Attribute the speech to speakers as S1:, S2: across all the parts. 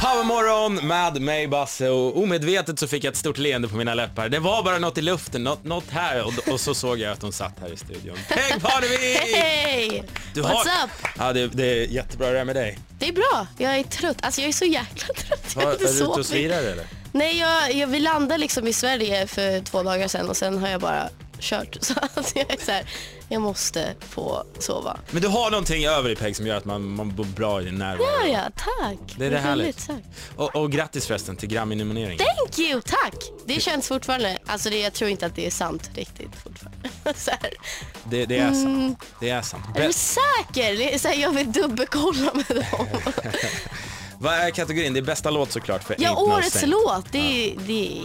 S1: Powermorgon med mig Basse och omedvetet så fick jag ett stort leende på mina läppar. Det var bara något i luften, något, något här och, och så såg jag att hon satt här i studion. Peg Parnevik!
S2: Hej!
S1: Du
S2: What's up?
S1: Ja, det, det är jättebra det här med dig.
S2: Det är bra. Jag är trött. Alltså jag är så jäkla trött.
S1: Var,
S2: Jag har
S1: är
S2: inte
S1: du ute och
S2: sovit.
S1: svirar eller?
S2: Nej, jag, jag, vi landade liksom i Sverige för två dagar sedan och sen har jag bara kört. Så att jag är så här, jag måste få sova.
S1: Men du har någonting över i Peg som gör att man, man bor bra i din närvaro.
S2: Ja, ja, tack.
S1: Det är det härligt.
S2: tack.
S1: Och, och grattis förresten till Grammy-nomineringen.
S2: Thank you, tack. Det känns fortfarande, alltså det, jag tror inte att det är sant riktigt fortfarande. Så här.
S1: Det, det är sant. Det är sant.
S2: Mm. Är du
S1: Bä-
S2: säker? Det är Så här, jag vill dubbelkolla med dem.
S1: vad är kategorin? Det är bästa låt såklart för Ain't
S2: Ja,
S1: No
S2: årets
S1: Saint.
S2: låt, det är, det är,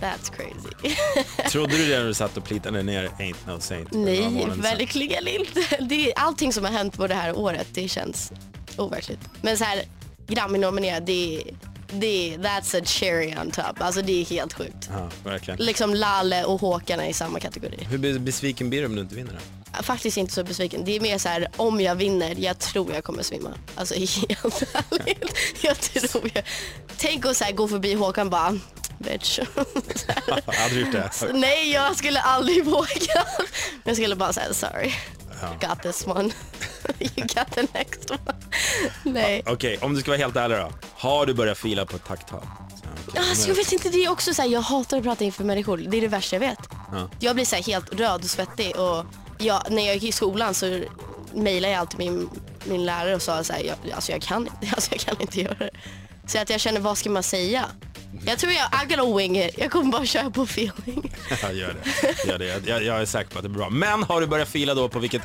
S2: that's crazy.
S1: Trodde du det när du satt och plitade ner Ain't No Saint? Några
S2: Nej,
S1: månader sedan?
S2: verkligen inte. Det är allting som har hänt på det här året, det känns overkligt. Men så här, Grammy-nominerad, det är, det är, that's a cherry on top. Alltså det är helt sjukt.
S1: Ja, verkligen.
S2: Liksom Lalle och Håkan är i samma kategori.
S1: Hur be- besviken blir du om du inte vinner då?
S2: Faktiskt inte så besviken. Det är mer så här, om jag vinner, jag tror jag kommer svimma. Alltså helt ärligt. Jag tror jag. Tänk att så här, gå förbi Håkan och bara, bitch.
S1: Jag hade du gjort det?
S2: Nej, jag skulle aldrig våga. Jag skulle bara säga sorry.
S1: Ja.
S2: Got this one. You got the next one. Nej.
S1: Okej, om du ska vara helt ärlig då. Har du börjat fila på ett tacktal? Så, okej,
S2: Alltså,
S1: nu-
S2: jag vet inte, det är också så här, jag hatar att prata inför människor. Det är det värsta jag vet.
S1: Ja.
S2: Jag blir så här helt röd och svettig och jag, när jag gick i skolan så mejlade jag alltid min, min lärare och sa så här, jag, alltså jag kan inte, alltså jag kan inte göra det. Så att jag känner, vad ska man säga? Jag tror jag, I gotta wing it. Jag kommer bara köra på feeling.
S1: Ja, gör det. Gör det. Jag- Jag, jag är säker på att det är bra. Men har du börjat fila då på vilket,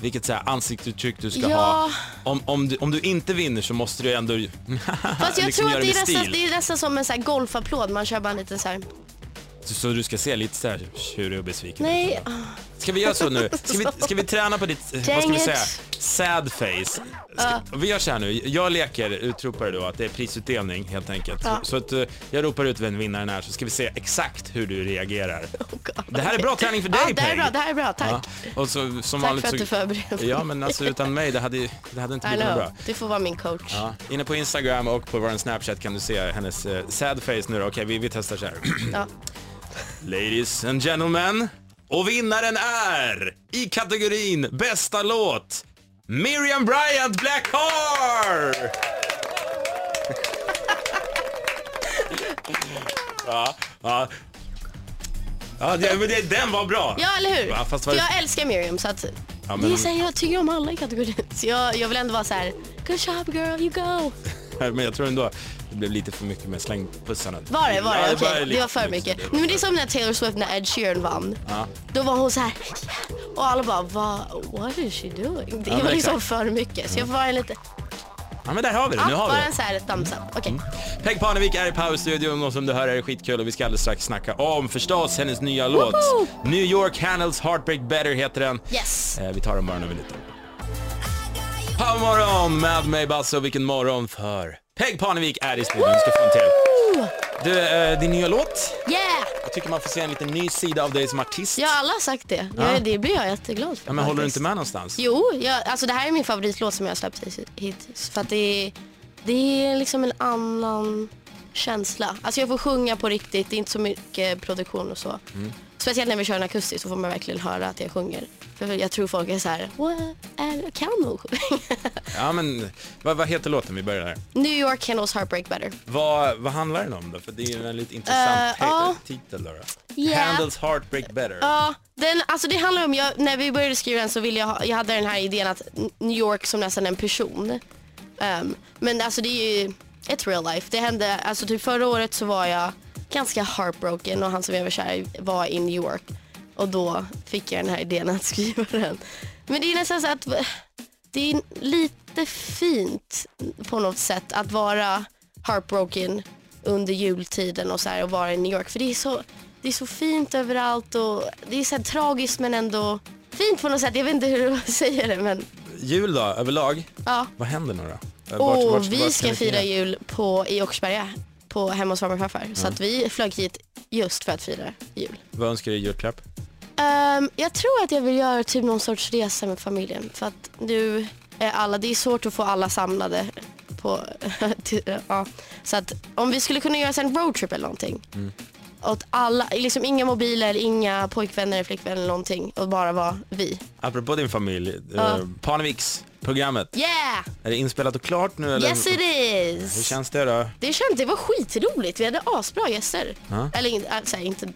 S1: vilket så här ansiktsuttryck du ska
S2: Ja.
S1: ha? Om, om, du, om du inte vinner så måste du ändå
S2: Fast jag
S1: liksom
S2: tror
S1: göra
S2: att det är,
S1: med
S2: nästan,
S1: stil.
S2: det är nästan som en så här golfapplåd. Man kör bara en liten så här,
S1: Så du ska se lite så här tjurig och besviken
S2: nej. oh
S1: ut. Ska vi göra så nu? Ska vi, ska vi träna på ditt, eh, vad ska vi
S2: it.
S1: säga, sad face? Ska, Vi gör så här nu, jag leker utropare då att det är prisutdelning helt enkelt.
S2: Ja.
S1: Så, så att eh, jag ropar ut vem vinnaren är så ska vi se exakt hur du
S2: Oh
S1: reagerar.
S2: God.
S1: Det här är bra träning för dig
S2: Ja, det här är
S1: Peg.
S2: bra, det här är bra. Tack.
S1: Ja, och så, som
S2: Tack
S1: vanligt
S2: för att
S1: så-
S2: du förberedde mig.
S1: Ja, men alltså utan mig, det hade, ju- det hade inte
S2: I
S1: blivit något
S2: know.
S1: bra.
S2: Du får vara min coach.
S1: Ja. Inne på Instagram och på vår Snapchat kan du se hennes eh, sad face nu då. Okej, vi, vi testar så här.
S2: Ja.
S1: Ladies and gentlemen, och vinnaren är i kategorin bästa låt Miriam Bryant Black Car! ja, ja. Ja, det, men det, den var bra.
S2: Ja, eller hur?
S1: Ja, fast
S2: För
S1: var det-
S2: jag älskar Miriam. Så att
S1: Ja, men-
S2: det är så här, jag tycker om alla i kategorin. Så jag, jag vill ändå vara så här, good job girl, you go.
S1: Men jag tror ändå det blev lite för mycket med slängpussarna.
S2: Var det, var
S1: Ja,
S2: det? Okej,
S1: var lite
S2: det var för mycket.
S1: det var-
S2: Nej, men det är som när Taylor Swift, när Ed Sheeran vann.
S1: Ja.
S2: Då var hon så här, yeah. och alla bara, Va, what is she doing? Det
S1: Ja, men
S2: var liksom
S1: exakt.
S2: för mycket. Så jag får vara en lite,
S1: Ja, men där har vi det. Nu
S2: ja,
S1: har vi
S2: Ah,
S1: det.
S2: bara
S1: Mm.
S2: en så här thumbs up. Okej.
S1: Peg Parnevik är i Powerstudion och som du hör är det skitkul och vi ska alldeles strax snacka om förstås hennes nya låt.
S2: Woho!
S1: New York Handles Heartbreak Better heter den.
S2: Yes.
S1: Eh, vi tar den bara några minuter. Powermorgon med mig Basse och vilken morgon för Peg Parnevik är i studion. Vi ska få en till.
S2: Woo!
S1: Du, eh, din nya låt.
S2: Yeah!
S1: Jag tycker man får se en liten ny sida av dig som artist.
S2: Ja, alla har sagt det.
S1: Ja.
S2: Ja. Det blir jag jätteglad för.
S1: Ja, men håller du inte
S2: faktiskt.
S1: med någonstans?
S2: Jo, jag, alltså det här är min favoritlåt som jag har släppt hit- hittills. För att det är, det är liksom en annan känsla. Alltså jag får sjunga på riktigt, det är inte så mycket produktion och så.
S1: Mm.
S2: Speciellt när vi kör en akustisk så får man verkligen höra att jag sjunger. För jag tror folk är så här, "What är det? kan hon sjunga?
S1: Ja, men vad, vad heter låten? Vi börjar där.
S2: New York Handles Heartbreak Better.
S1: Vad, vad handlar den om då? För det är ju en väldigt intressant
S2: Eh,
S1: te-
S2: ja.
S1: titel då. då.
S2: Ja.
S1: Handles Heartbreak Better.
S2: Ja, den, alltså det handlar om, jag, när vi började skriva den så ville jag, ha- jag hade den här idén att N- New York som nästan en person. Ehm, men alltså det är ju ett real life. Det hände, alltså typ förra året så var jag ganska heartbroken och han som jag var kär i var i New York. Och då fick jag den här idén att skriva den. Men det är nästan så att det är lite fint på något sätt att vara heartbroken under jultiden och så här och vara i New York. För det är så, det är så fint överallt och det är så här tragiskt men ändå fint på något sätt. Jag vet inte hur du säger det men
S1: Jul då, överlag?
S2: ja.
S1: Vad händer nu då? Eh,
S2: Och
S1: vart- vart-
S2: vi
S1: vart
S2: ska
S1: ni
S2: fira jul på, i Åkersberga på hemma hos farmor och farfar. Så
S1: Mm.
S2: att vi flög hit just för att fira jul.
S1: Vad önskar du i julklapp?
S2: Ehm, jag tror att jag vill göra typ någon sorts resa med familjen. För att nu är alla, det är svårt att få alla samlade på... till- ja. Så att om vi skulle kunna göra så här en roadtrip eller någonting.
S1: Mm.
S2: Åt alla, liksom inga mobiler, inga pojkvänner, flickvänner eller någonting och bara vara vi.
S1: Apropå din familj,
S2: Ja.
S1: eh, Parneviks, programmet.
S2: Yeah!
S1: Är det inspelat och klart nu eller?
S2: Yes it
S1: Hur
S2: is!
S1: känns det då?
S2: Det kändes, det var skitroligt. Vi hade asbra gäster.
S1: Ja.
S2: Eller inte, äh, såhär, inte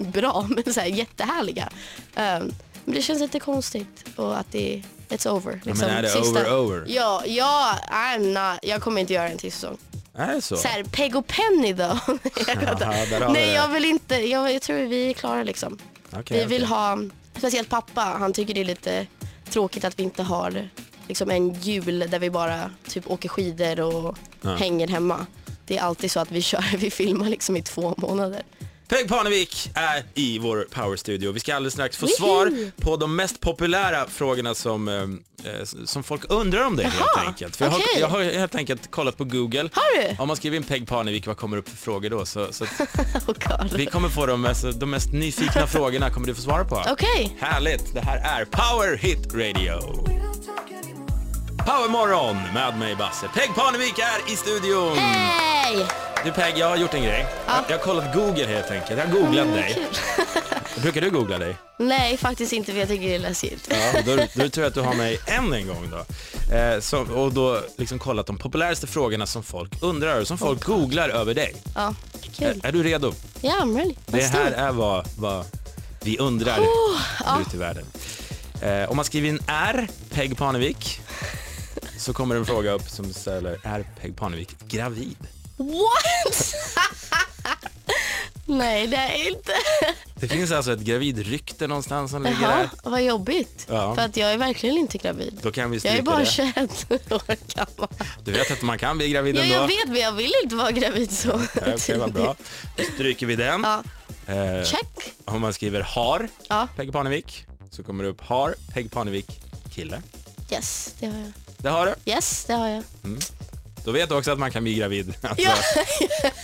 S2: bra, men såhär, jättehärliga. Ehm, men det känns lite konstigt och att det it's over. liksom.
S1: är det over, over?
S2: Ja, ja, I'm not, jag kommer inte göra en till säsong.
S1: Är det så?
S2: Såhär, Peg och Penny då? Jag skämtar.
S1: Aha, där har vi
S2: Nej
S1: det.
S2: jag vill inte, jag, jag tror vi är klara liksom.
S1: Okej,
S2: vi vill
S1: okej.
S2: ha, speciellt pappa, han tycker det är lite tråkigt att vi inte har liksom en jul där vi bara typ åker skidor och
S1: Ja.
S2: hänger hemma. Det är alltid så att vi kör, vi filmar liksom i två månader.
S1: Peg Parnevik är i vår Powerstudio. Vi ska alldeles strax få
S2: Woohoo!
S1: svar på de mest populära frågorna som, eh, eh, som folk undrar om dig helt enkelt. För jag, har,
S2: okej.
S1: jag har helt enkelt kollat på Google.
S2: Har du?
S1: Om man skriver in Peg Parnevik, vad kommer upp för frågor då? Så, så att
S2: Oh God.
S1: vi kommer få de mest, de mest nyfikna frågorna kommer du få svara på.
S2: Okej,
S1: Härligt, det här är Power Hit Radio. Power morgon med mig Basse. Peg Parnevik är i studion.
S2: hej!
S1: Du Peg, jag har gjort en grej. Jag, jag har kollat Google helt enkelt. Jag har googlat dig.
S2: Mm, Kul.
S1: Brukar du googla dig?
S2: Nej faktiskt inte för jag tycker det är läskigt.
S1: Ja, då, då tror jag att du har mig än en gång då. Eh, som- och då liksom kollat de populäraste frågorna som folk undrar och som folk googlar över dig.
S2: Ja,
S1: Är,
S2: kul.
S1: är du redo?
S2: Ja, I'm ready.
S1: Det
S2: Let's do
S1: här
S2: it.
S1: är vad, vad vi undrar
S2: ja.
S1: ute i världen. Eh, om man skriver in R, Peg Parnevik, så kommer en fråga upp som ställer, är Peg Parnevik gravid?
S2: What? Nej det är inte.
S1: Det finns alltså ett gravidrykte någonstans som ligger
S2: Jaha,
S1: där.
S2: vad jobbigt.
S1: Ja.
S2: För att jag är verkligen inte gravid.
S1: Då kan vi
S2: Jag är
S1: stryka
S2: bara
S1: det.
S2: 21 år gammal.
S1: Du vet att man kan bli gravid
S2: Ja,
S1: ändå?
S2: jag vet men jag vill inte vara gravid så
S1: Ja, Okej, vad bra. Då stryker vi den.
S2: Ja,
S1: Eh,
S2: check.
S1: Om man skriver har
S2: Ja,
S1: Peg Parnevik så kommer det upp har Peg Parnevik kille.
S2: yes det har jag.
S1: Det har du.
S2: Yes det har jag.
S1: Då vet du också att man kan bli gravid. Alltså,
S2: Ja.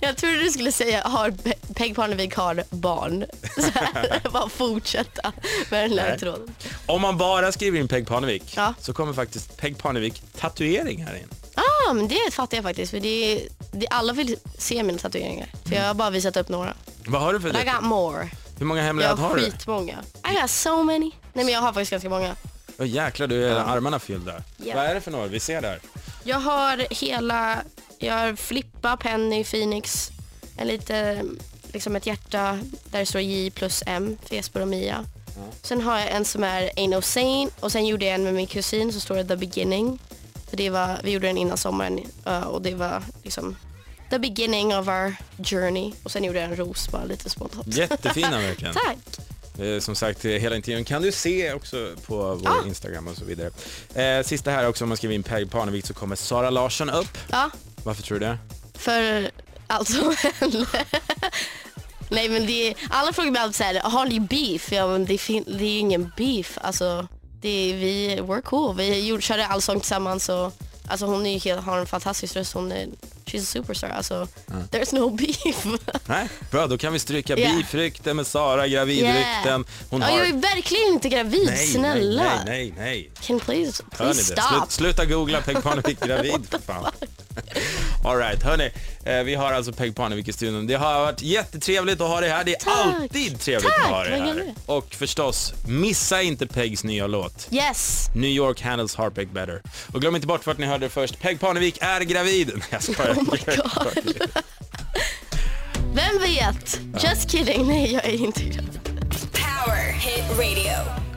S2: Jag trodde du skulle säga har Pe- Peg Parnevik har barn. Så här, bara fortsätta med den där
S1: Nej.
S2: tråden.
S1: Om man bara skriver in Peg Parnevik
S2: Ja.
S1: så kommer faktiskt Peg Parnevik tatuering här in.
S2: Ah, men det fattar jag faktiskt för det är, det, alla vill se mina tatueringar. För jag har bara visat upp några.
S1: Vad har du för
S2: But I got more.
S1: Hur många hemliga
S2: Jag
S1: har
S2: har
S1: du?
S2: skitmånga. I got so many. Nej men jag har faktiskt ganska många.
S1: Åh jäklar, du är armarna fyllda.
S2: Ja.
S1: Vad är det för några? Vi ser där.
S2: Jag har hela, jag har Flippa, Penny, Phoenix, en lite, liksom ett hjärta där det står J plus M för Jesper och Mia. Sen har jag en som är Ain't No Sane och sen gjorde jag en med min kusin så står det The Beginning. För det var, vi gjorde den innan sommaren eh, och det var liksom The beginning of our journey. Och sen gjorde jag en ros bara lite spontant.
S1: Jättefina verkligen.
S2: Tack!
S1: Eh, Som sagt, eh, hela intervjun kan du se också på vår
S2: Ah.
S1: Instagram och så vidare. Eh, sista här också, om man skriver in Peg Parnevik så kommer Sara Larsson upp.
S2: Ja,
S1: Varför tror du det?
S2: för allt som händer. Nej men det är, alla frågar mig alltid såhär, har ni beef? Ja men det, fin- det är ju ingen beef. Alltså, det är, vi, we're cool. Vi gjorde, körde Allsång tillsammans och alltså, hon är ju helt, har en fantastisk röst. Hon är, she's a superstar. Alltså, there's no beef.
S1: Nej, bra, då kan vi stryka
S2: Ja.
S1: bifrykten med Sara, gravidrykten. Hon
S2: Ja,
S1: har...
S2: jag är verkligen inte gravid, snälla.
S1: nej, nej, nej.
S2: Can you please,
S1: Hör ni det?
S2: please
S1: Slu,
S2: stop.
S1: sluta googla Peg Parnevik gravid, för fan. All right, hörni. Eh, vi har alltså Peg Parnevik i studion. Det har varit jättetrevligt att ha dig här. Det är
S2: Tack.
S1: alltid trevligt att
S2: Tack,
S1: ha dig
S2: vad
S1: här.
S2: gulligt.
S1: Och förstås, missa inte Pegs nya låt.
S2: Yes.
S1: New York handles heartbreak better. Och glöm inte bort vart ni hörde det först. Peg Parnevik är gravid. Nej, jag skojar.
S2: Oh my God. Vem vet? Just kidding. Nej, jag är inte gravid.
S3: Power Hit Radio.